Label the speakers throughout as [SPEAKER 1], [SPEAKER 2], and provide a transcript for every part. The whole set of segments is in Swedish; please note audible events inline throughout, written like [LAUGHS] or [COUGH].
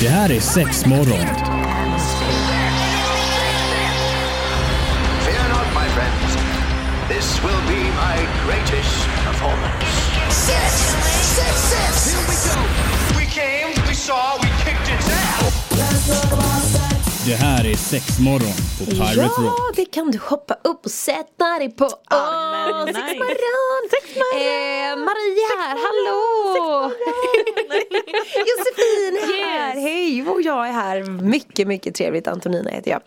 [SPEAKER 1] Det här är sex morgon.
[SPEAKER 2] Fear not, my friends. This will be my greatest performance.
[SPEAKER 3] Six, six, six. Here we go.
[SPEAKER 2] We came, we saw, we kicked its ass.
[SPEAKER 1] Det här är sex morgon på Pirate
[SPEAKER 4] Ja,
[SPEAKER 1] Rock.
[SPEAKER 4] det kan du hoppa upp och sätta dig på.
[SPEAKER 5] Ja, men
[SPEAKER 4] Åh, sex
[SPEAKER 5] nice.
[SPEAKER 4] morgon! Sex Eh, Maria här, hallå! [LAUGHS] Josefin här, hej! Och jag är här, mycket, mycket trevligt. Antonina heter jag.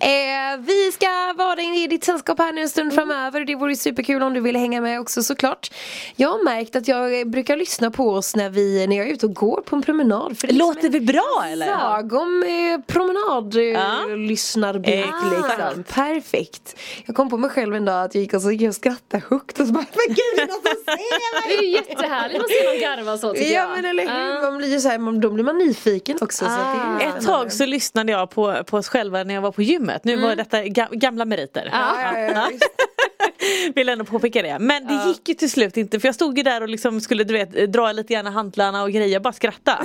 [SPEAKER 4] Eh, vi ska vara i ditt sällskap här nu en
[SPEAKER 5] Mm.
[SPEAKER 4] stund framöver. Det vore ju superkul om du ville hänga med också såklart. Jag har märkt att jag brukar lyssna på oss när, vi, när jag är ute och går på en promenad. För det är som
[SPEAKER 5] Låter
[SPEAKER 4] Liksom en
[SPEAKER 5] vi bra eller?
[SPEAKER 4] Lagom eh,
[SPEAKER 5] Ja.
[SPEAKER 4] promenadlyssnarbil
[SPEAKER 5] Exakt.
[SPEAKER 4] liksom. Perfekt. Jag kom på mig själv en dag att jag gick och så gick jag och skrattade högt och så bara Men gud det är någon som
[SPEAKER 5] [LAUGHS]
[SPEAKER 4] ser
[SPEAKER 6] Det är
[SPEAKER 4] mig!
[SPEAKER 6] ju jättehärligt att se någon garva så tycker
[SPEAKER 4] Ja
[SPEAKER 6] jag.
[SPEAKER 4] men eller hur,
[SPEAKER 6] Ja.
[SPEAKER 4] man blir ju så här, man, då blir man nyfiken också. Så att det är
[SPEAKER 5] Ah. Ett tag så lyssnade jag på, på oss själva när jag var på gymmet. Nu var detta ga- gamla meriter.
[SPEAKER 4] Ja, ja, ja, visst.
[SPEAKER 5] Vill ändå påpeka det. Men det gick ju till slut inte för jag stod ju där och liksom skulle du vet dra lite gärna hantlarna och grejer. Jag bara skratta.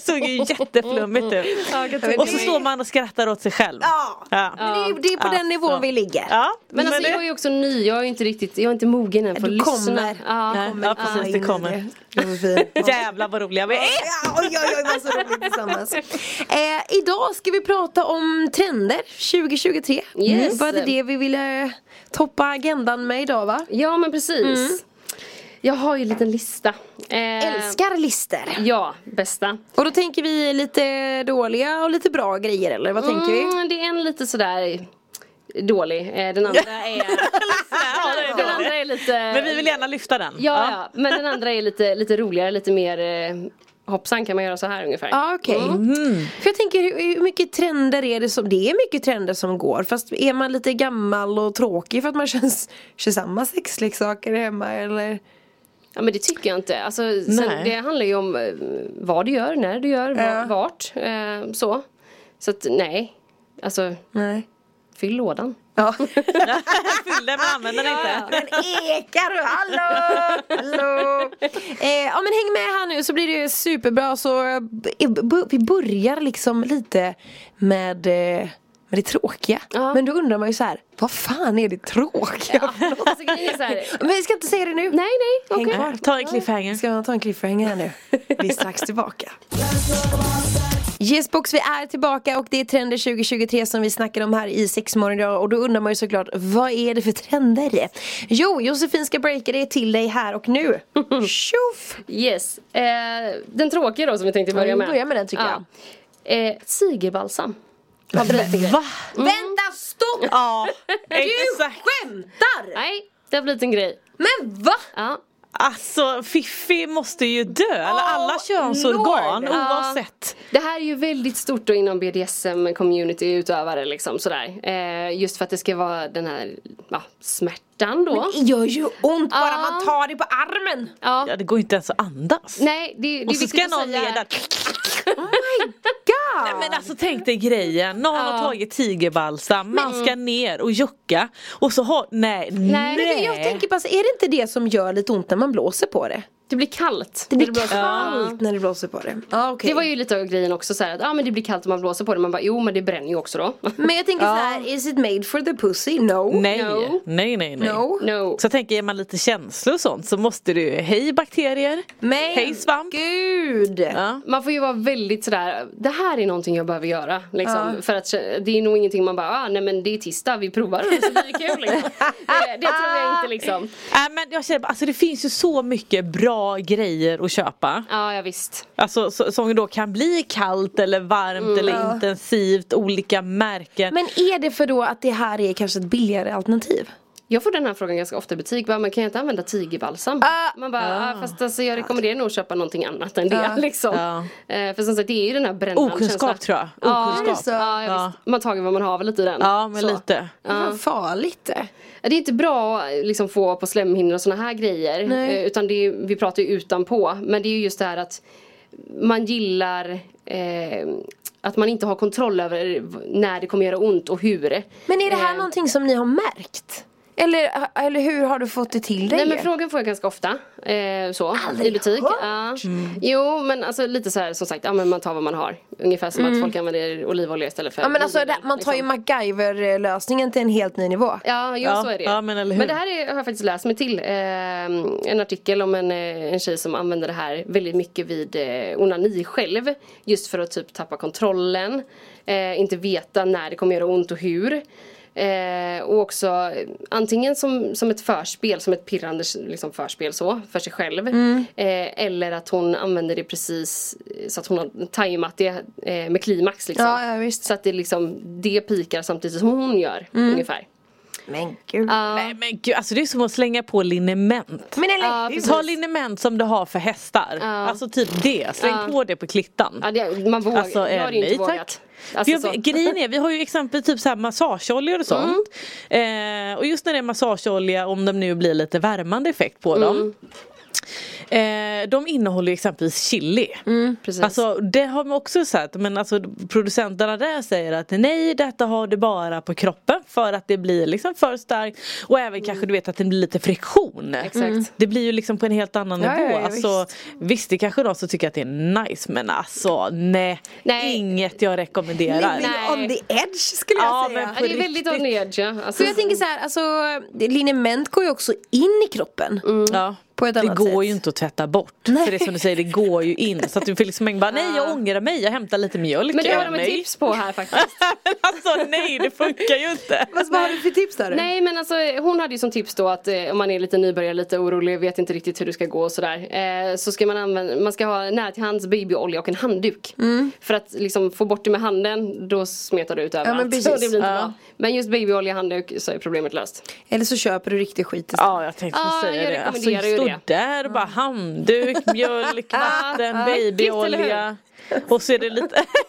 [SPEAKER 5] Såg ju jätteflummigt ut.
[SPEAKER 6] Ja, jag
[SPEAKER 5] Och så
[SPEAKER 6] tycker-
[SPEAKER 5] står man och skrattar åt sig själv.
[SPEAKER 4] Ja. Men det, är- det är på den nivån vi ligger.
[SPEAKER 5] Ja,
[SPEAKER 6] Men alltså
[SPEAKER 5] det-
[SPEAKER 6] jag är ju också ny, jag är ju inte riktigt, jag är inte mogen än för att
[SPEAKER 4] Du
[SPEAKER 6] lyssna.
[SPEAKER 4] kommer.
[SPEAKER 6] Ja.
[SPEAKER 5] Ja, precis, det
[SPEAKER 4] in i
[SPEAKER 5] kommer.
[SPEAKER 4] det. Josefin.
[SPEAKER 5] [LAUGHS] Jävlar vad roliga vi är!
[SPEAKER 4] Ja, oj, oj, oj, vad så roligt tillsammans. Eh, idag ska vi prata om trender 2023.
[SPEAKER 6] Yes.
[SPEAKER 4] Var det det vi ville toppa agendan med idag va?
[SPEAKER 6] ja men precis. Jag har ju en liten lista. Eh,
[SPEAKER 4] Älskar lister.
[SPEAKER 6] Ja, bästa.
[SPEAKER 4] Och då tänker vi lite dåliga och lite bra grejer eller vad tänker vi?
[SPEAKER 6] Mm, det är en lite sådär dålig, eh, den andra är, den andra är lite
[SPEAKER 5] Men vi vill gärna lyfta den.
[SPEAKER 6] Ja, ja, men den andra är lite, lite roligare, lite mer eh, hoppsan kan man göra så här ungefär.
[SPEAKER 4] Ja okej.
[SPEAKER 6] Mm.
[SPEAKER 4] För jag tänker hur hur mycket trender är det som, det är mycket trender som går fast är man lite gammal och tråkig för att man känns, kör samma sexleksaker hemma eller?
[SPEAKER 6] Ja men det tycker jag inte. Alltså, sen,
[SPEAKER 5] Nej.
[SPEAKER 6] det handlar ju om eh, vad du gör, när du gör, va- vart. Eh, så. Så att nej. Alltså,
[SPEAKER 4] Nej.
[SPEAKER 6] fyll lådan.
[SPEAKER 4] Ja.
[SPEAKER 5] Fyll den men använd den inte.
[SPEAKER 4] Den ekar du, hallå! hallå. Eh, ja men häng med här nu så blir det superbra så eh, b- b- vi börjar liksom lite med eh, med det tråkiga.
[SPEAKER 6] Ja.
[SPEAKER 4] Men då undrar man ju så här, vad fan är det tråkiga?
[SPEAKER 6] [LAUGHS] Alltså, grejen är så här,
[SPEAKER 4] Men vi ska inte säga det nu.
[SPEAKER 6] nej nej, okej.
[SPEAKER 4] Häng kvar.
[SPEAKER 5] Ta en cliffhanger.
[SPEAKER 4] Ska man ta en cliffhanger här nu? Vi är strax tillbaka. Yesbox, vi är tillbaka och det är trender 2023 som vi snackar om här i sexmorgon idag och då undrar man ju såklart vad är det för trender? Jo, Josefin ska breaka det till dig här och
[SPEAKER 6] [LAUGHS]
[SPEAKER 4] nu. Tjoff!
[SPEAKER 6] Yes. Eh, den tråkiga då som vi tänkte
[SPEAKER 4] Ja,
[SPEAKER 6] börja
[SPEAKER 4] vi
[SPEAKER 6] med. Mm.
[SPEAKER 4] börjar Mm, med den, tycker
[SPEAKER 6] jag. Eh, tigerbalsam. Har blivit en grej.
[SPEAKER 5] Va?
[SPEAKER 4] Vänta, stopp!
[SPEAKER 5] Ja,
[SPEAKER 4] Du
[SPEAKER 5] exakt.
[SPEAKER 4] skämtar!
[SPEAKER 6] Nej, det har blivit en grej.
[SPEAKER 4] Men va?
[SPEAKER 6] Ja.
[SPEAKER 5] Alltså Fiffi måste ju dö, eller alla
[SPEAKER 4] Åh,
[SPEAKER 5] könsorgan
[SPEAKER 4] Lord.
[SPEAKER 5] oavsett.
[SPEAKER 6] Det här är ju väldigt stort då inom BDSM-community utövare liksom sådär. Eh, just för att det ska vara den här ja, smärtan då.
[SPEAKER 4] Det gör ju ont bara
[SPEAKER 6] Ja.
[SPEAKER 4] man tar det på armen!
[SPEAKER 6] ja.
[SPEAKER 5] Ja, det går ju inte ens att andas.
[SPEAKER 6] Nej, det, det är
[SPEAKER 5] Och så
[SPEAKER 6] viktigt
[SPEAKER 5] ska
[SPEAKER 6] att
[SPEAKER 5] någon
[SPEAKER 6] säga.
[SPEAKER 5] ner där.
[SPEAKER 4] Oh God!
[SPEAKER 5] Men alltså tänk dig grejen, någon har tagit tigerbalsam, man ska ner och jucka och så har, nej, nej.
[SPEAKER 6] Nej,
[SPEAKER 4] Men jag tänker bara, så, är det inte det som gör lite ont när man blåser på det?
[SPEAKER 6] Det blir kallt.
[SPEAKER 4] Det
[SPEAKER 6] när
[SPEAKER 4] blir
[SPEAKER 6] blåser.
[SPEAKER 4] kallt när det blåser på det. Ja, okej.
[SPEAKER 6] Det var ju lite av grejen också så här att ja ah, men det blir kallt om man blåser på det. Man bara jo men det bränner ju också då. [LAUGHS]
[SPEAKER 4] Men jag tänker så här, is it made for the pussy? No.
[SPEAKER 5] nej,
[SPEAKER 6] No.
[SPEAKER 5] nej, nej, nej.
[SPEAKER 4] No.
[SPEAKER 6] no.
[SPEAKER 5] Så jag tänker, är man lite känslig och sånt så måste du, hej bakterier,
[SPEAKER 4] Men
[SPEAKER 5] hej svamp.
[SPEAKER 4] gud!
[SPEAKER 5] Ja.
[SPEAKER 6] Man får ju vara väldigt sådär, det här är någonting jag behöver göra. Liksom. För att kä- det är nog ingenting man bara, ah, nej men det är tisdag, vi provar [LAUGHS] och så blir det
[SPEAKER 5] [LAUGHS]
[SPEAKER 6] kul. Liksom. det, det tror jag inte liksom.
[SPEAKER 5] Nej men jag känner, bara, alltså det finns ju så mycket bra grejer att köpa.
[SPEAKER 6] Ja, ja visst.
[SPEAKER 5] Alltså så, som då kan bli kallt eller varmt
[SPEAKER 6] Mm.
[SPEAKER 5] eller intensivt, olika märken.
[SPEAKER 4] Men är det för då att det här är kanske ett billigare alternativ?
[SPEAKER 6] Jag får den här frågan ganska ofta i butik. Bara, man kan jag inte använda tigerbalsam?
[SPEAKER 4] Ah.
[SPEAKER 6] man bara, ah. fast alltså, jag rekommenderar nog att köpa någonting annat än det. [LAUGHS] Liksom.
[SPEAKER 5] Ja.
[SPEAKER 6] Eh, för som sagt, det är ju den här brännande
[SPEAKER 5] Okunskap,
[SPEAKER 6] känslan.
[SPEAKER 5] tror jag.
[SPEAKER 6] Ja,
[SPEAKER 5] Okunskap.
[SPEAKER 6] Ja, ja,
[SPEAKER 5] Ja.
[SPEAKER 6] visst. Man tager vad man har väl lite i den.
[SPEAKER 5] ja men
[SPEAKER 6] Så.
[SPEAKER 5] lite.
[SPEAKER 4] Vad farligt det.
[SPEAKER 6] Det är inte bra att liksom, få på slemhinnor och såna här grejer.
[SPEAKER 4] Nej.
[SPEAKER 6] Eh, Utan det är, vi pratar ju utanpå. Men det är ju just det här att man gillar eh, att man inte har kontroll över när det kommer göra ont och hur.
[SPEAKER 4] Men är det här
[SPEAKER 6] Eh,
[SPEAKER 4] någonting som ni har märkt? Eller, eller hur har du fått det till dig?
[SPEAKER 6] Nej men frågan får jag ganska ofta. Eh, så,
[SPEAKER 4] Aldrig
[SPEAKER 6] I butik.
[SPEAKER 4] hört.
[SPEAKER 6] Ja. Jo men alltså lite så här som sagt, ja, men man tar vad man har. Ungefär som att folk använder olivolja istället för
[SPEAKER 4] Mm. ja, men alltså, det,
[SPEAKER 6] olivolja,
[SPEAKER 4] man tar ju
[SPEAKER 6] liksom.
[SPEAKER 4] MacGyver-lösningen till en helt ny nivå.
[SPEAKER 6] Ja, jo
[SPEAKER 5] Ja,
[SPEAKER 6] så är det
[SPEAKER 5] ja, men eller hur?
[SPEAKER 6] det här är, har jag faktiskt läst mig till. Eh, en artikel om en, eh, en tjej som använder det här väldigt mycket vid eh, onani själv. Just för att typ tappa kontrollen. Eh, inte veta när det kommer göra ont och hur. Eh, och också eh, antingen som, som ett förspel, som ett pirrande liksom, förspel så, för sig själv.
[SPEAKER 5] Mm.
[SPEAKER 6] Eh, eller att hon använder det precis eh, så att hon har tajmat det eh, med klimax. Liksom.
[SPEAKER 4] Ja, ja, visst.
[SPEAKER 6] Så att det liksom, det pikar samtidigt som hon gör,
[SPEAKER 5] Mm.
[SPEAKER 6] ungefär.
[SPEAKER 4] Men gud.
[SPEAKER 5] Nej men gud, alltså det är som att slänga på liniment.
[SPEAKER 4] Men eller
[SPEAKER 6] Ja,
[SPEAKER 4] hur?
[SPEAKER 6] precis.
[SPEAKER 5] Ta liniment som du har för hästar. Alltså typ det, släng på det på klittan.
[SPEAKER 6] Ja, det, man vågar.
[SPEAKER 5] Alltså,
[SPEAKER 6] jag
[SPEAKER 5] eh,
[SPEAKER 6] har ju inte
[SPEAKER 5] nej,
[SPEAKER 6] vågat.
[SPEAKER 5] tack.
[SPEAKER 6] Alltså,
[SPEAKER 5] för jag,
[SPEAKER 6] så.
[SPEAKER 5] grejen är, vi har ju exempel typ så här massageoljor och sånt.
[SPEAKER 6] Mm.
[SPEAKER 5] Eh, och just när det är massageolja, om de nu blir lite värmande effekt på dem.
[SPEAKER 6] Mm.
[SPEAKER 5] Eh, de innehåller ju exempelvis chili.
[SPEAKER 6] Mm. Precis.
[SPEAKER 5] Alltså det har man också sett men alltså producenterna där säger att nej detta har du bara på kroppen för att det blir liksom för starkt och även kanske du vet att det blir lite friktion.
[SPEAKER 6] Mm. Exakt. Mm.
[SPEAKER 5] Det blir ju liksom på en helt annan
[SPEAKER 4] Ja,
[SPEAKER 5] nivå.
[SPEAKER 4] ja, ja,
[SPEAKER 5] alltså, visst. det kanske är någon som tycker att det är nice men alltså nej,
[SPEAKER 6] Nej.
[SPEAKER 5] inget jag rekommenderar.
[SPEAKER 4] Living
[SPEAKER 6] Nej.
[SPEAKER 4] on the edge skulle
[SPEAKER 5] Ja,
[SPEAKER 4] jag säga.
[SPEAKER 5] men
[SPEAKER 6] ja, det är väldigt on the edge, ja. alltså,
[SPEAKER 4] För jag tänker så här, alltså liniment går ju också in i kroppen.
[SPEAKER 5] Mm. Ja.
[SPEAKER 4] På ett
[SPEAKER 5] Det
[SPEAKER 4] annat
[SPEAKER 5] går
[SPEAKER 4] sätt.
[SPEAKER 5] ju inte att tvätta bort. För det är som du säger, det går ju in. Så att du Felix Meng bara, nej jag ångrar mig, jag hämtar lite mjölk.
[SPEAKER 6] Men det
[SPEAKER 5] över
[SPEAKER 6] har de ett
[SPEAKER 5] mig."
[SPEAKER 6] tips på
[SPEAKER 5] [LAUGHS]
[SPEAKER 6] här faktiskt.
[SPEAKER 5] alltså nej det funkar ju inte.
[SPEAKER 4] Fast vad har du för tips där?
[SPEAKER 6] Nej men alltså hon hade ju som tips då att eh, om man är lite nybörjare, lite orolig, vet inte riktigt hur det ska gå och sådär. Eh, så ska man använda, man ska ha nära till hands babyolja och en handduk.
[SPEAKER 5] Mm.
[SPEAKER 6] För att liksom få bort det med handen, då smetar du ut överallt. [LAUGHS]
[SPEAKER 4] men precis.
[SPEAKER 6] Så det blir inte
[SPEAKER 5] Ja.
[SPEAKER 6] bra. Men just babyolja och handduk så är problemet
[SPEAKER 5] [LAUGHS]
[SPEAKER 6] löst.
[SPEAKER 4] Eller så köper du riktig skit istället.
[SPEAKER 5] Ja, jag tänkte
[SPEAKER 6] Ja,
[SPEAKER 5] säga
[SPEAKER 6] jag
[SPEAKER 5] det. Alltså,
[SPEAKER 6] rekommenderar ju
[SPEAKER 5] stå
[SPEAKER 6] det.
[SPEAKER 5] där och bara handduk, mjölk, vatten,
[SPEAKER 6] Äckligt,
[SPEAKER 5] babyolja. Och så är det lite, [LAUGHS] ja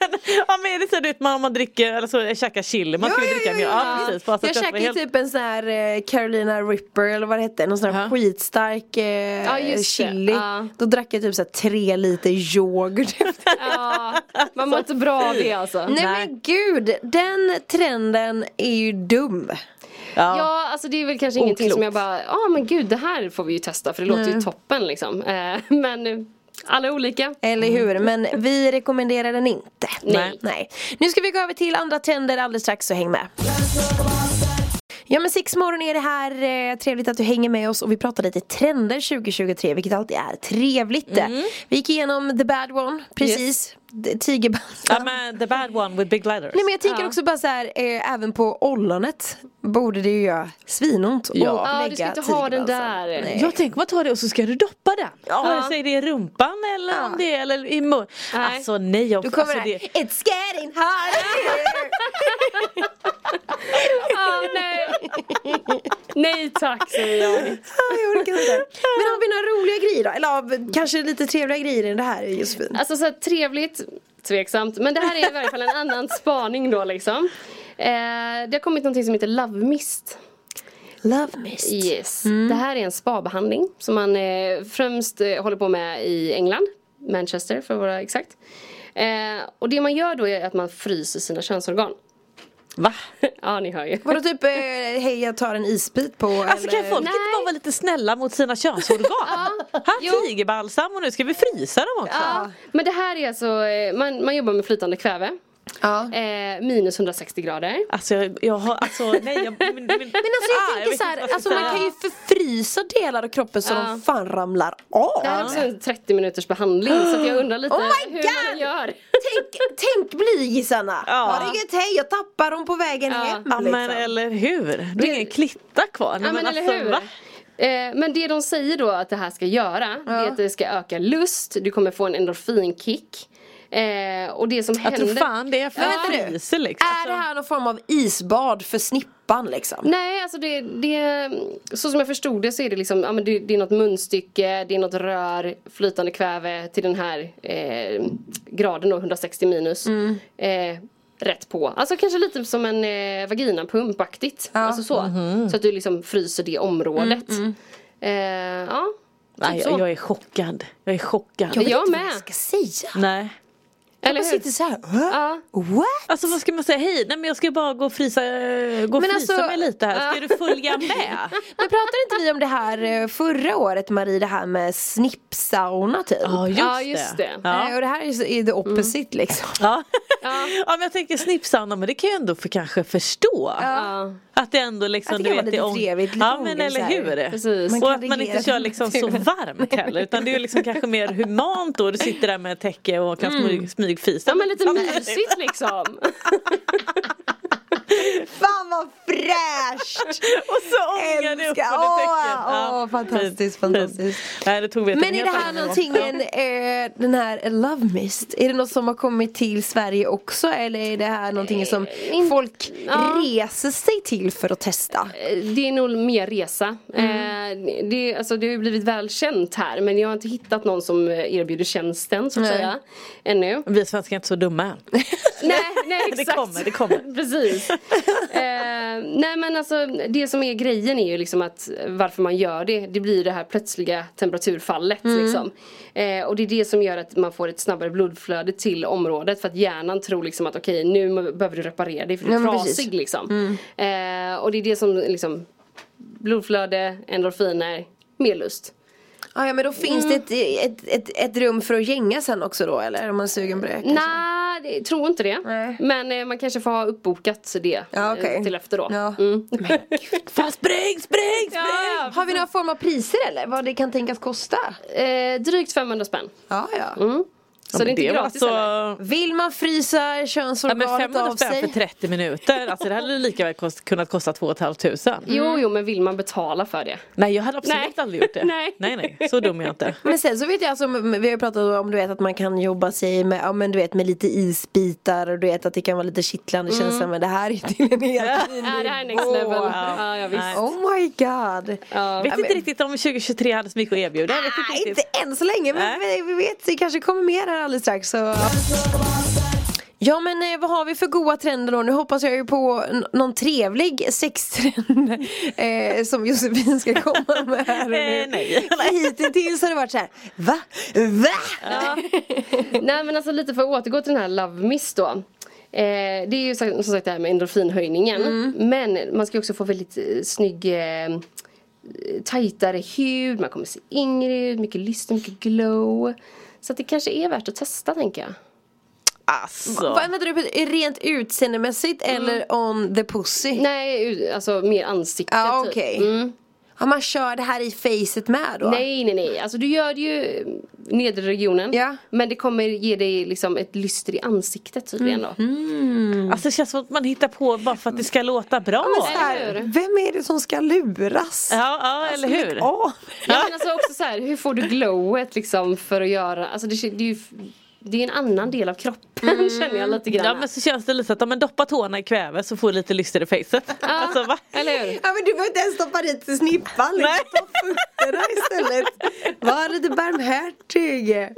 [SPEAKER 5] men, ja, men är det så här, du vet man, om man dricker, eller så käkar chili, man skulle dricka mjölk. Ja, precis. Bara så
[SPEAKER 4] Jag
[SPEAKER 5] att detta var
[SPEAKER 4] käkade
[SPEAKER 5] helt-
[SPEAKER 4] typ en sån här eh, Carolina Ripper eller vad det hette, någon sån här skitstark eh,
[SPEAKER 6] just det.
[SPEAKER 4] chili.
[SPEAKER 6] Ja.
[SPEAKER 4] Då drack jag typ så här tre liter yoghurt efter.
[SPEAKER 6] Ja, man mår inte bra av det alltså.
[SPEAKER 4] Nej men gud, den trenden är ju dum.
[SPEAKER 5] ja.
[SPEAKER 6] Ja, alltså det är väl kanske ingenting
[SPEAKER 5] Oklokt.
[SPEAKER 6] som jag bara, ja men gud det här får vi ju testa för det låter ju toppen liksom. Eh, men eh, alla är olika.
[SPEAKER 4] Eller hur? Men vi rekommenderar den inte.
[SPEAKER 5] Nej.
[SPEAKER 4] Nej. Nu ska vi gå över till andra trender alldeles strax så häng med. Ja men sex morgon är det här, eh, trevligt att du hänger med oss och vi pratar lite trender 2023 vilket alltid är trevligt.
[SPEAKER 6] Mm.
[SPEAKER 4] Vi gick igenom the bad one, precis, yes. tigerbalsam.
[SPEAKER 5] Ja, men the bad one with big letters.
[SPEAKER 4] Nej men jag tänker också bara så här, eh, även på ollonet borde det ju göra svinont
[SPEAKER 5] Ja.
[SPEAKER 4] att
[SPEAKER 6] Ja,
[SPEAKER 4] lägga
[SPEAKER 6] du ska inte ha den
[SPEAKER 4] tigerbalsam.
[SPEAKER 6] där.
[SPEAKER 4] Nej.
[SPEAKER 5] Jag tänker man tar det och så ska du doppa den. Vare sig det är i rumpan eller om det är eller i munnen.
[SPEAKER 6] Nej.
[SPEAKER 5] Alltså nej. Jag,
[SPEAKER 4] Då kommer
[SPEAKER 5] alltså,
[SPEAKER 4] det här, it's getting
[SPEAKER 6] [LAUGHS]
[SPEAKER 4] harder!
[SPEAKER 6] Ah, nej. nej tack säger jag.
[SPEAKER 4] Ah, jag orkar inte. Men har vi några roliga grejer då? Eller ja, kanske lite trevliga grejer i det här Josefin?
[SPEAKER 6] Alltså så här, trevligt, tveksamt. Men det här är i varje fall en annan spaning då liksom. Eh, det har kommit någonting som heter Love Mist.
[SPEAKER 4] Love mist.
[SPEAKER 6] Yes.
[SPEAKER 4] Mm.
[SPEAKER 6] Det här är en spabehandling som man eh, främst eh, håller på med i England. Manchester för att vara exakt. Eh, och det man gör då är att man fryser sina könsorgan.
[SPEAKER 5] Va?
[SPEAKER 6] [LAUGHS] ja ni hör ju.
[SPEAKER 4] Vadå typ, eh, hej jag tar en isbit på
[SPEAKER 5] Alltså kan folk inte
[SPEAKER 6] Nej.
[SPEAKER 5] bara vara lite snälla mot sina könsorgan? Här tigerbalsam och nu ska vi frysa dem också.
[SPEAKER 6] Ja, men det här är alltså, eh, man, man jobbar med flytande kväve.
[SPEAKER 4] Ja.
[SPEAKER 6] Eh, minus 160 grader.
[SPEAKER 5] Alltså jag, jag har, alltså nej jag, men, Ah, men,
[SPEAKER 4] Men alltså jag tänker så här, alltså man kan ju förfrysa delar av kroppen så
[SPEAKER 6] Ja.
[SPEAKER 4] de fan ramlar
[SPEAKER 6] Det här är
[SPEAKER 4] av.
[SPEAKER 6] också en 30 minuters behandling så att jag undrar lite
[SPEAKER 4] Oh my
[SPEAKER 6] hur
[SPEAKER 4] God!
[SPEAKER 6] man gör.
[SPEAKER 4] Tänk, tänk blygisarna!
[SPEAKER 5] Ja.
[SPEAKER 4] Har det gött, hej jag tappar dem på vägen
[SPEAKER 6] Ja.
[SPEAKER 4] hem.
[SPEAKER 5] Ja, men
[SPEAKER 4] liksom.
[SPEAKER 5] eller hur, då är det ingen klitta kvar. Nej,
[SPEAKER 6] Ja, men,
[SPEAKER 5] alltså,
[SPEAKER 6] eller hur?
[SPEAKER 5] va?
[SPEAKER 6] Eh, men det de säger då att det här ska göra, det är att det ska öka lust, du kommer få en endorfinkick. Eh, och det som
[SPEAKER 5] Jag
[SPEAKER 6] händer...
[SPEAKER 5] tror fan det är för
[SPEAKER 4] Men
[SPEAKER 5] ja.
[SPEAKER 4] vänta nu.
[SPEAKER 5] fryser liksom.
[SPEAKER 4] Är det här någon form av isbad för snippan liksom?
[SPEAKER 6] Nej, alltså det, det, så som jag förstod det så är det liksom, ja men det, det är något munstycke, det är något rör, flytande kväve till den här eh, graden då, 160 minus.
[SPEAKER 5] Mm.
[SPEAKER 6] Eh, rätt på. Alltså kanske lite som en eh, vaginapump-aktigt. Alltså så.
[SPEAKER 5] Mhm.
[SPEAKER 6] Så att du liksom fryser det området.
[SPEAKER 5] Mm,
[SPEAKER 6] Eh, ja, typ
[SPEAKER 5] Nej,
[SPEAKER 6] så.
[SPEAKER 5] mm. jag, jag är chockad, jag är chockad.
[SPEAKER 6] Jag
[SPEAKER 4] vet inte
[SPEAKER 6] med.
[SPEAKER 4] vad jag ska säga.
[SPEAKER 5] Nej.
[SPEAKER 6] Eller
[SPEAKER 4] man
[SPEAKER 6] hur?
[SPEAKER 4] sitter så här.
[SPEAKER 6] Ja.
[SPEAKER 4] What?
[SPEAKER 5] Alltså vad ska man säga? Hej, nej men jag ska bara gå och frysa, eh, gå och
[SPEAKER 4] Men
[SPEAKER 5] frysa
[SPEAKER 4] alltså-
[SPEAKER 5] mig lite här. Ska
[SPEAKER 6] Ja.
[SPEAKER 4] [LAUGHS]
[SPEAKER 5] du följa med?
[SPEAKER 4] Men pratade inte vi om det här eh, förra året Marie, det här med snippsauna typ?
[SPEAKER 6] Ja, just det.
[SPEAKER 5] Ja.
[SPEAKER 4] Eh, Och det här är så- är the opposite liksom.
[SPEAKER 5] Ja.
[SPEAKER 6] Ja.
[SPEAKER 5] ja men jag tänker snippsauna men det kan jag ändå för kanske förstå.
[SPEAKER 6] Ja.
[SPEAKER 5] Att det ändå liksom
[SPEAKER 4] Att det
[SPEAKER 5] du
[SPEAKER 4] kan vara
[SPEAKER 5] vet det
[SPEAKER 4] lite
[SPEAKER 5] är ång-
[SPEAKER 4] trevligt, lite
[SPEAKER 5] Ja men
[SPEAKER 4] ångest så
[SPEAKER 5] eller
[SPEAKER 4] här.
[SPEAKER 5] hur.
[SPEAKER 6] Precis.
[SPEAKER 4] Man
[SPEAKER 5] Och
[SPEAKER 4] kan
[SPEAKER 5] att man inte
[SPEAKER 4] reglera
[SPEAKER 5] kör
[SPEAKER 4] [LAUGHS]
[SPEAKER 5] liksom så
[SPEAKER 4] temperaturen.
[SPEAKER 5] varmt heller utan det är ju liksom kanske mer humant då. Du sitter där med ett täcke och kan smyg, smygfisa.
[SPEAKER 6] Mm. Ja men lite mysigt
[SPEAKER 4] [LAUGHS]
[SPEAKER 6] liksom.
[SPEAKER 4] Fan vad fräscht!
[SPEAKER 5] Och så ångar det upp
[SPEAKER 4] Älskar.
[SPEAKER 5] under
[SPEAKER 4] Åh,
[SPEAKER 5] täcket.
[SPEAKER 4] åh, fantastiskt,
[SPEAKER 5] fint,
[SPEAKER 4] fantastiskt.
[SPEAKER 5] fint. Nej, det tog vi till
[SPEAKER 4] [LAUGHS]
[SPEAKER 5] en
[SPEAKER 4] Men är
[SPEAKER 5] helt
[SPEAKER 4] det här
[SPEAKER 5] annan nivå.
[SPEAKER 4] någonting, en, eh, den här Love Mist, är det något som har kommit till Sverige också eller är det här någonting som
[SPEAKER 6] Eh, in-
[SPEAKER 4] folk
[SPEAKER 6] ja.
[SPEAKER 4] reser sig till för att testa?
[SPEAKER 6] Eh, Det är nog mer resa.
[SPEAKER 4] Mm.
[SPEAKER 6] Eh, Det, alltså, det har ju blivit välkänt här men jag har inte hittat någon som eh, erbjuder tjänsten så att
[SPEAKER 4] Nej.
[SPEAKER 6] säga. Ännu.
[SPEAKER 5] Vi svenskar är inte
[SPEAKER 4] [LAUGHS]
[SPEAKER 5] så dumma än. [LAUGHS]
[SPEAKER 6] Nej, nej exakt.
[SPEAKER 5] Det kommer, det kommer.
[SPEAKER 6] [LAUGHS] Precis. Eh, nej men alltså det som är grejen är ju liksom att varför man gör det. Det blir det här plötsliga temperaturfallet
[SPEAKER 4] Mm.
[SPEAKER 6] liksom. Eh, och det är det som gör att man får ett snabbare blodflöde till området. För att hjärnan tror liksom att okej nu behöver du reparera dig för du
[SPEAKER 4] Ja,
[SPEAKER 6] är
[SPEAKER 4] men
[SPEAKER 6] trasig
[SPEAKER 4] precis. Mm.
[SPEAKER 6] liksom. Eh, och det är det som liksom blodflöde, endorfiner, mer lust.
[SPEAKER 4] Ja, ja men då finns det ett, ett, ett, ett rum för att gänga sen också då eller? Om man är sugen på det? kanske?
[SPEAKER 6] Nej, det- jag tror inte det.
[SPEAKER 4] Nej.
[SPEAKER 6] Men eh, man kanske får ha uppbokat det
[SPEAKER 4] Ja,
[SPEAKER 6] eh,
[SPEAKER 4] okej.
[SPEAKER 6] till efter då.
[SPEAKER 4] Ja.
[SPEAKER 6] Mm.
[SPEAKER 5] Fan spring, spring, spring!
[SPEAKER 6] Ja,
[SPEAKER 4] Har vi några form av priser eller? Vad det kan tänkas kosta?
[SPEAKER 6] eh, drygt 500 spänn.
[SPEAKER 4] Ja, ja.
[SPEAKER 6] Så det är inte gratis heller.
[SPEAKER 4] Vill man frysa
[SPEAKER 5] Ja, men
[SPEAKER 4] könsorganet
[SPEAKER 5] 500
[SPEAKER 4] av sig?
[SPEAKER 5] spänn för 30 minuter, alltså det hade lika väl kost, kunnat kosta 2 500.
[SPEAKER 6] Jo, jo, men vill man betala för det?
[SPEAKER 5] Nej jag hade absolut
[SPEAKER 6] Nej.
[SPEAKER 4] [LAUGHS]
[SPEAKER 5] aldrig gjort det.
[SPEAKER 6] Nej.
[SPEAKER 5] nej, nej, så dum är jag inte.
[SPEAKER 4] Men sen så vet jag, alltså, m- vi har ju pratat om du vet att man kan jobba sig med, ja, men, du vet, med lite isbitar och du vet att det kan vara lite kittlande känsla men det här är till en helt ny
[SPEAKER 6] Mm. [LAUGHS] Ja, det här är next
[SPEAKER 4] nivå.
[SPEAKER 6] level. Ja, ja, visst.
[SPEAKER 5] Nej.
[SPEAKER 4] Oh my god!
[SPEAKER 6] Ja.
[SPEAKER 5] Vet inte riktigt om 2023 hade så mycket att erbjuda. Jag vet inte
[SPEAKER 4] Nej,
[SPEAKER 5] riktigt.
[SPEAKER 4] inte än så länge men vi, vi vet, det kanske kommer mer här alldeles strax så Ja men eh, vad har vi för goa trender då? Nu hoppas jag ju på n- någon trevlig sextrend [LAUGHS] eh, som Josefin ska komma med här
[SPEAKER 6] [LAUGHS]
[SPEAKER 4] och nu.
[SPEAKER 5] Eh, nej.
[SPEAKER 4] För Hittills har det varit så här, va? Va? [LAUGHS]
[SPEAKER 6] [LAUGHS] Nej, men alltså lite för att återgå till den här Love Miss då. Eh, det är ju som som sagt det här med endorfinhöjningen. Men man ska också få väldigt eh, snygg eh, tajtare hud, man kommer se yngre ut, mycket lyster, mycket glow. Så att det kanske är värt att testa tänker jag.
[SPEAKER 5] Alltså.
[SPEAKER 4] Vad Vänta du på rent utseendemässigt eller on the pussy?
[SPEAKER 6] Mm. Nej, u- alltså mer ansiktet
[SPEAKER 4] Ja
[SPEAKER 6] typ.
[SPEAKER 4] okej.
[SPEAKER 6] Mm.
[SPEAKER 4] Ja, man kör det här i facet med då?
[SPEAKER 6] Nej, nej, nej. Alltså du gör det ju eh, nedre regionen.
[SPEAKER 4] Ja.
[SPEAKER 6] Men det kommer ge dig liksom ett lyster i ansiktet tydligen då.
[SPEAKER 4] Mm.
[SPEAKER 5] alltså det känns som att man hittar på bara för att det ska låta bra.
[SPEAKER 4] Men så här,
[SPEAKER 6] Eller hur?
[SPEAKER 4] vem är det som ska luras?
[SPEAKER 5] Ja, ja eller hur.
[SPEAKER 4] Ja.
[SPEAKER 6] Ja, men alltså också så här, hur får du glowet liksom för att göra, alltså det, det är ju det är en annan del av kroppen
[SPEAKER 4] Mm.
[SPEAKER 6] känner jag lite grann.
[SPEAKER 5] Ja men så känns det lite att om man doppar tårna i kväve så får du lite lyster i facet. [LAUGHS] Alltså va?
[SPEAKER 6] Eller hur?
[SPEAKER 4] Ja men du behöver inte ens stoppa dit snippan, liksom.
[SPEAKER 5] Nej.
[SPEAKER 4] ta fötterna istället. Var lite barmhärtig. Nej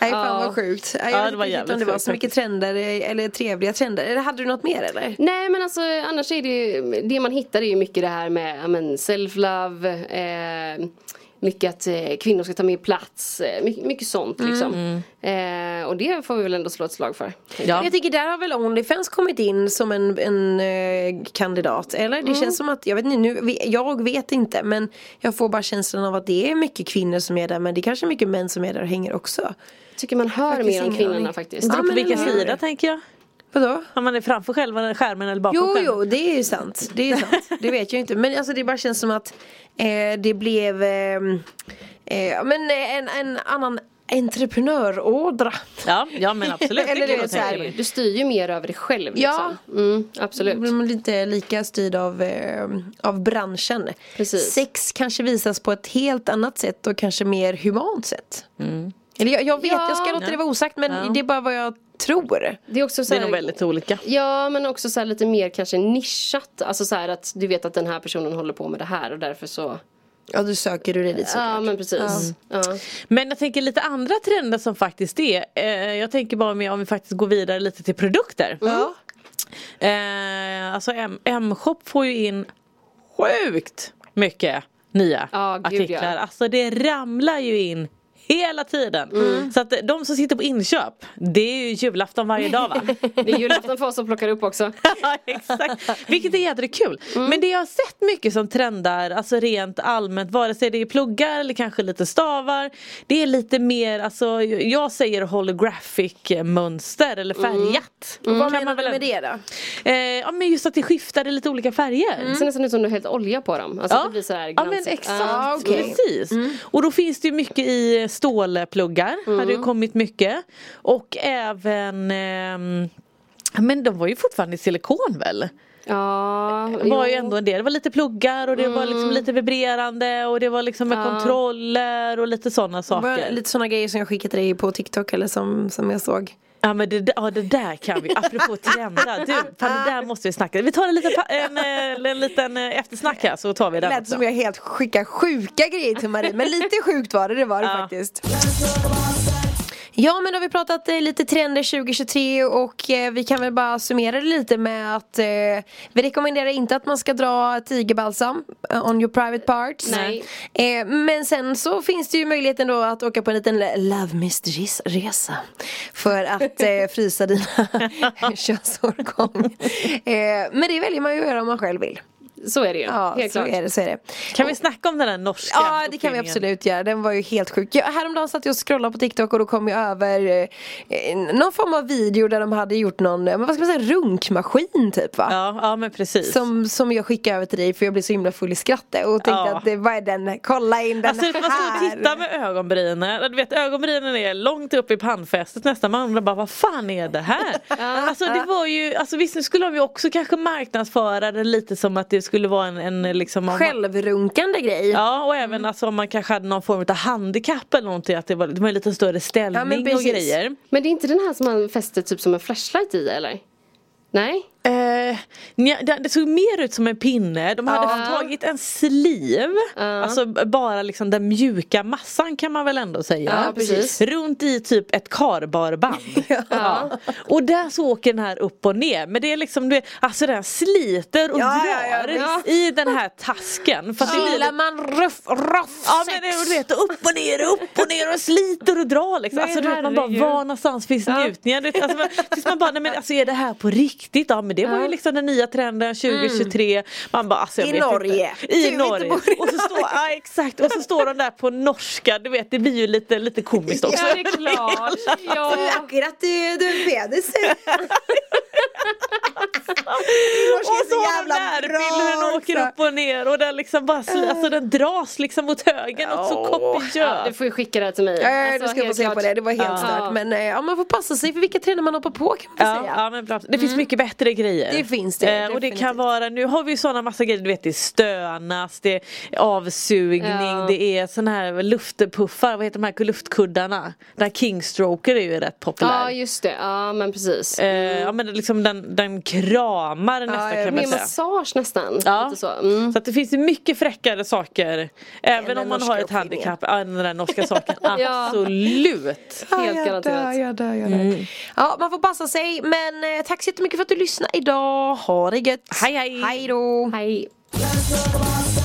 [SPEAKER 4] fan
[SPEAKER 6] Ja.
[SPEAKER 4] vad sjukt. Nej,
[SPEAKER 5] Ja,
[SPEAKER 4] Jag
[SPEAKER 5] det
[SPEAKER 4] vet inte
[SPEAKER 5] var
[SPEAKER 4] riktigt om
[SPEAKER 5] jävligt
[SPEAKER 4] det var
[SPEAKER 5] sjukt
[SPEAKER 4] så mycket trender eh, eller trevliga trender. Eller hade du något mer eller?
[SPEAKER 6] Nej men alltså annars är det ju, det man hittar är ju mycket det här med ja, men self-love, eh, mycket att eh, kvinnor ska ta mer plats, eh, mycket, mycket sånt liksom.
[SPEAKER 4] Mm.
[SPEAKER 6] Eh, och det får vi väl ändå slå ett slag för.
[SPEAKER 5] Ja.
[SPEAKER 4] Jag tycker där har väl Onlyfans kommit in som en, en eh, kandidat eller?
[SPEAKER 5] Mm.
[SPEAKER 4] Det känns som att, jag vet inte nu, vi- jag vet inte men jag får bara känslan av att det är mycket kvinnor som är där men det är kanske är mycket män som är där och hänger också.
[SPEAKER 6] Jag tycker man hör
[SPEAKER 4] Faktiskt
[SPEAKER 6] mer om
[SPEAKER 4] ingen
[SPEAKER 6] kvinnorna
[SPEAKER 4] aning.
[SPEAKER 6] faktiskt.
[SPEAKER 4] Ja,
[SPEAKER 5] Beror på
[SPEAKER 4] men
[SPEAKER 5] vilken
[SPEAKER 4] eller hur?
[SPEAKER 5] sida tänker jag.
[SPEAKER 4] Vadå?
[SPEAKER 5] Om man är framför själva skärmen eller bakom
[SPEAKER 4] Jo,
[SPEAKER 5] skärmen.
[SPEAKER 4] jo, det är ju sant. Det är sant. Det vet jag inte. Men alltså det bara känns som att eh, det blev ehm, eh, ja, men eh, en, en annan entreprenörådra.
[SPEAKER 5] Ja, ja men absolut.
[SPEAKER 4] Eller
[SPEAKER 5] det
[SPEAKER 4] du vet
[SPEAKER 5] kan jag tänka
[SPEAKER 4] så här,
[SPEAKER 5] mig.
[SPEAKER 6] Du styr ju mer över dig själv
[SPEAKER 4] Ja.
[SPEAKER 6] liksom. Mm, absolut.
[SPEAKER 4] Då blir man lite lika styrd av, eh, av branschen.
[SPEAKER 6] Precis.
[SPEAKER 4] Sex kanske visas på ett helt annat sätt och kanske mer humant sätt. Eller jag, jag vet,
[SPEAKER 6] Ja.
[SPEAKER 4] jag ska låta det vara osagt men
[SPEAKER 5] Ja.
[SPEAKER 4] det är bara vad jag tror.
[SPEAKER 6] Det är också så
[SPEAKER 5] Det är
[SPEAKER 6] här-
[SPEAKER 5] nog väldigt olika.
[SPEAKER 6] Ja men också så här lite mer kanske nischat. Alltså så här att du vet att den här personen håller på med det här och därför så.
[SPEAKER 4] Ja, då söker du dig dit såklart.
[SPEAKER 6] Ja men precis. Ja.
[SPEAKER 5] Men jag tänker lite andra trender som faktiskt är. Eh, jag tänker bara med om vi faktiskt går vidare lite till produkter.
[SPEAKER 4] Ja.
[SPEAKER 5] Eh, alltså M- M-shop får ju in sjukt mycket nya
[SPEAKER 6] Ja, gud,
[SPEAKER 5] artiklar.
[SPEAKER 6] ja.
[SPEAKER 5] Alltså det ramlar ju in hela tiden.
[SPEAKER 4] Mm.
[SPEAKER 5] Så att eh, de som sitter på inköp, det är ju julafton varje dag va?
[SPEAKER 4] [LAUGHS]
[SPEAKER 6] Mm. Det är julafton för oss som plockar upp också.
[SPEAKER 5] Ja, exakt. Vilket är jättekul.
[SPEAKER 4] Mm.
[SPEAKER 5] Men det jag har sett mycket som trendar, alltså rent allmänt, vare sig det är pluggar eller kanske lite stavar. Det är lite mer, alltså jag säger holographic eh, mönster eller färgat.
[SPEAKER 4] Mm. Vad
[SPEAKER 5] Kan
[SPEAKER 4] menar
[SPEAKER 5] man
[SPEAKER 4] du med
[SPEAKER 5] väl-
[SPEAKER 4] det då?
[SPEAKER 5] Eh, ja men just att det skiftar i lite olika färger.
[SPEAKER 6] Det ser nästan ut som du har hällt olja på dem. Alltså det blir Mm. så här
[SPEAKER 5] ja men
[SPEAKER 6] glansigt.
[SPEAKER 5] exakt,
[SPEAKER 6] Ja. Mm.
[SPEAKER 4] Ah, okej.
[SPEAKER 5] precis. Och då finns det ju mycket i stålpluggar, har
[SPEAKER 6] Mm.
[SPEAKER 5] det ju kommit mycket. Och även ehm, men de var ju fortfarande i silikon väl?
[SPEAKER 6] Ja,
[SPEAKER 5] Det var
[SPEAKER 6] jo. Mm.
[SPEAKER 5] ju ändå en del, det var lite pluggar och det var liksom lite vibrerande och det var liksom med kontroller och lite sådana
[SPEAKER 4] Var
[SPEAKER 5] saker.
[SPEAKER 4] Lite sådana grejer som jag skickade till dig på TikTok eller som, som jag såg.
[SPEAKER 5] Ja men det, ja, det där kan vi,
[SPEAKER 6] [LAUGHS]
[SPEAKER 5] apropå trender. Du, fan, det där måste vi snacka. Vi tar en liten, pa- en, eh, en liten eh, eftersnack här så tar vi
[SPEAKER 4] Det
[SPEAKER 5] den
[SPEAKER 4] lät
[SPEAKER 5] också.
[SPEAKER 4] som jag helt skickar sjuka grejer till Marie, men lite [LAUGHS] sjukt var det, det var det
[SPEAKER 5] Ja.
[SPEAKER 4] faktiskt. Ja men då har vi pratat eh, lite trender 2023 och eh, vi kan väl bara summera det lite med att eh, vi rekommenderar inte att man ska dra tigerbalsam eh, on your private parts.
[SPEAKER 6] Nej.
[SPEAKER 4] Eh, men sen så finns det ju möjligheten då att åka på en liten love mysteries resa. För att [LAUGHS] eh, frysa dina könsårgång. Eh, men det väljer man ju att göra om man själv vill.
[SPEAKER 6] Så är det ju.
[SPEAKER 4] Ja,
[SPEAKER 6] Helt
[SPEAKER 4] så
[SPEAKER 6] klart.
[SPEAKER 4] är det, så är det.
[SPEAKER 5] Kan vi snacka om den där norska
[SPEAKER 4] Ja det kan vi
[SPEAKER 5] uppfinningen?
[SPEAKER 4] absolut göra, den var ju helt sjuk. Jag, häromdagen satt jag och scrollade på TikTok och då kom jag över eh, eh, någon form av video där de hade gjort någon, eh, men vad ska man säga, runkmaskin typ va?
[SPEAKER 5] Ja, ja men precis.
[SPEAKER 4] Som, som jag skickade över till dig för jag blev så himla full i skratt och tänkte
[SPEAKER 5] Ja.
[SPEAKER 4] att det, vad är den, kolla in den
[SPEAKER 5] Alltså man står och
[SPEAKER 4] här!
[SPEAKER 5] tittar med ögonbrynen, du vet ögonbrynen är långt upp i pannfästet nästan, man undrar bara vad fan är det
[SPEAKER 4] [LAUGHS]
[SPEAKER 5] här? alltså det var ju, alltså visst nu skulle de ju också kanske marknadsföra det lite som att det skulle vara en, en liksom om man,
[SPEAKER 4] Självrunkande grej.
[SPEAKER 5] Ja och
[SPEAKER 4] Mm.
[SPEAKER 5] även alltså om man kanske hade någon form av handikapp eller någonting att det var, det var en lite större
[SPEAKER 4] Ja,
[SPEAKER 5] ställning
[SPEAKER 4] men
[SPEAKER 5] och
[SPEAKER 4] precis.
[SPEAKER 5] grejer.
[SPEAKER 6] Men det är inte den här som man fäster typ som en flashlight i eller? Nej?
[SPEAKER 5] Eh, nja, det, det såg mer ut som en pinne, de hade
[SPEAKER 4] Ja.
[SPEAKER 5] tagit en sleeve,
[SPEAKER 6] Ja.
[SPEAKER 5] alltså b- bara liksom den mjuka massan kan man väl ändå säga.
[SPEAKER 6] Ja, precis.
[SPEAKER 5] Runt i typ ett karbarband.
[SPEAKER 4] [LAUGHS]
[SPEAKER 5] ja. Och där så åker den här upp och ner, men det är liksom, du vet, alltså den sliter och
[SPEAKER 4] Ja, ja, ja,
[SPEAKER 5] drar i den här tasken. För att det blir
[SPEAKER 4] Gillar
[SPEAKER 5] lite-
[SPEAKER 4] man ruff, ruff
[SPEAKER 5] Ja
[SPEAKER 4] sex?
[SPEAKER 5] men det- och du vet upp och ner, upp och ner och sliter och drar liksom.
[SPEAKER 6] Nej,
[SPEAKER 5] alltså, du vet, man bara
[SPEAKER 6] herregud.
[SPEAKER 5] var någonstans finns njutningen? Du vet, Alltså, man, tills man bara nej men alltså är det här på riktigt? Ja men det var ju liksom den nya trenden 2023. Man bara alltså jag
[SPEAKER 4] I
[SPEAKER 5] vet
[SPEAKER 4] Norge.
[SPEAKER 5] Inte. I
[SPEAKER 4] Du,
[SPEAKER 5] Norge.
[SPEAKER 4] inte bor i
[SPEAKER 5] och så står, ja, exakt och så står de där på norska, du vet det blir ju lite, lite komiskt också.
[SPEAKER 6] Ja det är klart. Ja.
[SPEAKER 4] Akkurat du, du
[SPEAKER 5] [LAUGHS]
[SPEAKER 4] penis
[SPEAKER 5] Och så har de
[SPEAKER 4] jävla
[SPEAKER 5] närbilden
[SPEAKER 4] bra
[SPEAKER 5] den åker
[SPEAKER 4] också.
[SPEAKER 5] upp och ner och den liksom bara sli, alltså den dras liksom mot höger något så kopiöst.
[SPEAKER 6] Ja, du får ju skicka det här till mig.
[SPEAKER 4] Ja, ja,
[SPEAKER 6] Alltså,
[SPEAKER 4] du ska få
[SPEAKER 6] helt
[SPEAKER 4] se
[SPEAKER 6] klart.
[SPEAKER 4] på det, det var helt stört. Men eh, ja, man får passa sig för vilka trender man hoppar på kan man
[SPEAKER 5] Ja,
[SPEAKER 4] säga. Mm.
[SPEAKER 5] ja, men bra. Det finns mycket bättre grejer.
[SPEAKER 4] Det finns det,
[SPEAKER 5] Eh, och det kan
[SPEAKER 4] definitivt.
[SPEAKER 5] vara, nu har vi ju sådana massa grejer, du vet det är stönas, det är avsugning,
[SPEAKER 6] Ja.
[SPEAKER 5] det är sådana här luftpuffar, vad heter de här luftkuddarna? Den här kingstroker är ju rätt populär.
[SPEAKER 6] Ja just det, ja men precis.
[SPEAKER 5] Eh, ja men det är liksom den, den kramar nästan
[SPEAKER 4] ja,
[SPEAKER 5] kan man
[SPEAKER 6] Mer
[SPEAKER 5] säga.
[SPEAKER 6] massage nästan.
[SPEAKER 5] Ja.
[SPEAKER 6] Lite så. Mm.
[SPEAKER 5] Så att det finns ju mycket fräckare saker Även
[SPEAKER 4] den
[SPEAKER 5] om man
[SPEAKER 4] norska
[SPEAKER 5] har ett
[SPEAKER 4] uppfinningen.
[SPEAKER 5] handikapp ja, än den där
[SPEAKER 4] [LAUGHS]
[SPEAKER 5] norska saken,
[SPEAKER 6] Ja.
[SPEAKER 5] absolut!
[SPEAKER 6] Helt
[SPEAKER 4] Ah, jag
[SPEAKER 6] garanterat. Mm.
[SPEAKER 4] Dör, jag dör, jag dör. Ja, man får passa sig. Men eh, tack så jättemycket för att du lyssnade idag. Ha det gött.
[SPEAKER 5] Hej, hej.
[SPEAKER 4] Hej då.
[SPEAKER 6] Hej.